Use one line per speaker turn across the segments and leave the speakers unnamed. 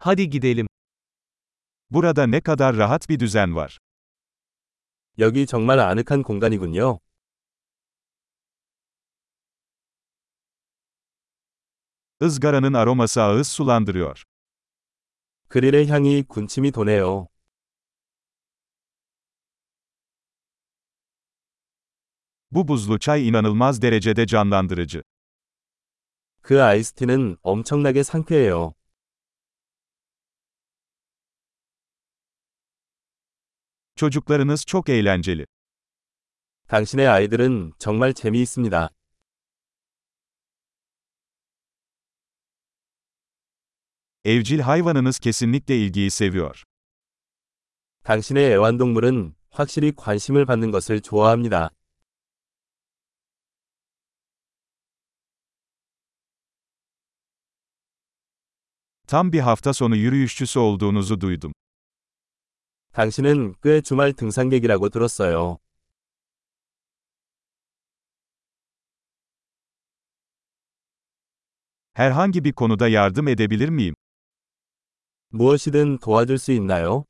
Hadi gidelim.
Burada ne kadar rahat bir düzen var.
여기 정말 아늑한 공간이군요.
Izgaranın aroması ağız sulandırıyor.
그릴의 향이 군침이 도네요.
Bu buzlu çay inanılmaz derecede canlandırıcı.
그 아이스티는 엄청나게 상쾌해요.
Çocuklarınız çok eğlenceli.
당신의 아이들은 정말 재미있습니다.
Evcil hayvanınız kesinlikle ilgiyi seviyor.
당신의 애완동물은 확실히 관심을 받는 것을 좋아합니다.
Tam bir hafta sonu yürüyüşçüsü olduğunuzu duydum.
당신은 꽤 주말 등산객이라고 들었어요.
Herhangi bir konuda yardım edebilir miyim?
무엇이든 도와줄 수 있나요?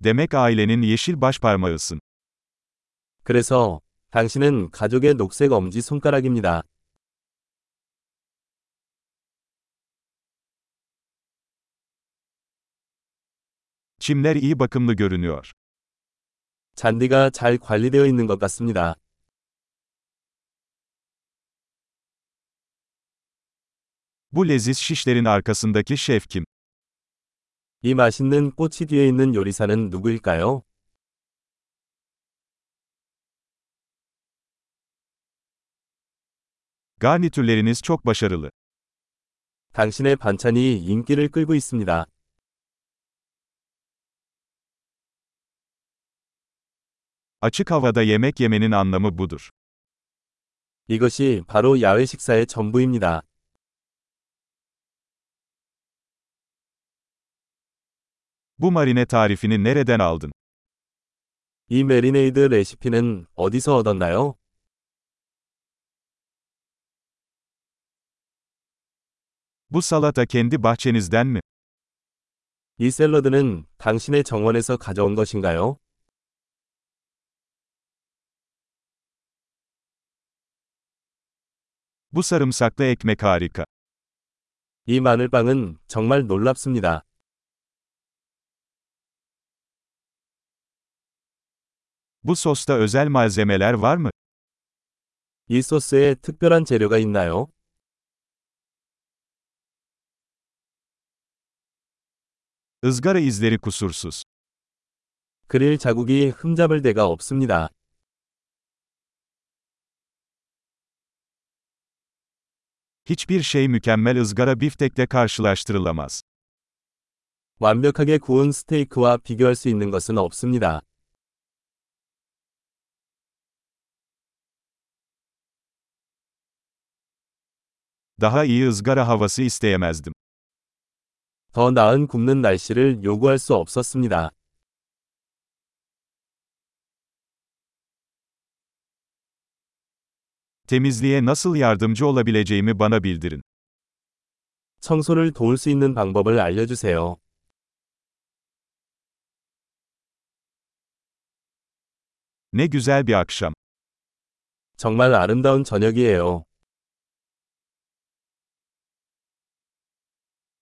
Demek ailenin yeşil başparmağısın.
그래서 당신은 가족의 녹색 엄지 손가락입니다.
Çimler iyi bakımlı görünüyor.
잔디가 잘 관리되어 있는 것 같습니다.
Bu leziz şişlerin arkasındaki şef kim?
이 맛있는 꽃이 뒤에 있는 요리사는 누구일까요?
Garnitürleriniz çok başarılı.
당신의 반찬이 인기를 끌고 있습니다.
Açık havada yemek yemenin anlamı budur.
이것이 바로 야외 식사의 전부입니다.
Bu marine tarifini nereden aldın?
이 메리네이드 레시피는 어디서 얻었나요?
Bu salata kendi bahçenizden mi?
이 샐러드는 당신의 정원에서 가져온 것인가요?
Bu sarımsaklı ekmek harika.
이 마늘빵은 정말 놀랍습니다.
Bu sosta özel malzemeler var mı?
이 소스에 특별한 재료가 있나요?
Izgara izleri kusursuz.
그릴 자국이 흠잡을 데가 없습니다.
Hiçbir şey mükemmel ızgara biftekle karşılaştırılamaz.
완벽하게 구운 스테이크와 비교할 수 있는 것은 없습니다.
Daha iyi ızgara havası isteyemezdim.
더 나은 굽는 날씨를 요구할 수 없었습니다.
Temizliğe nasıl yardımcı olabileceğimi bana bildirin.
청소를 도울 수 있는 방법을 알려주세요.
Ne güzel bir akşam.
정말 아름다운 저녁이에요.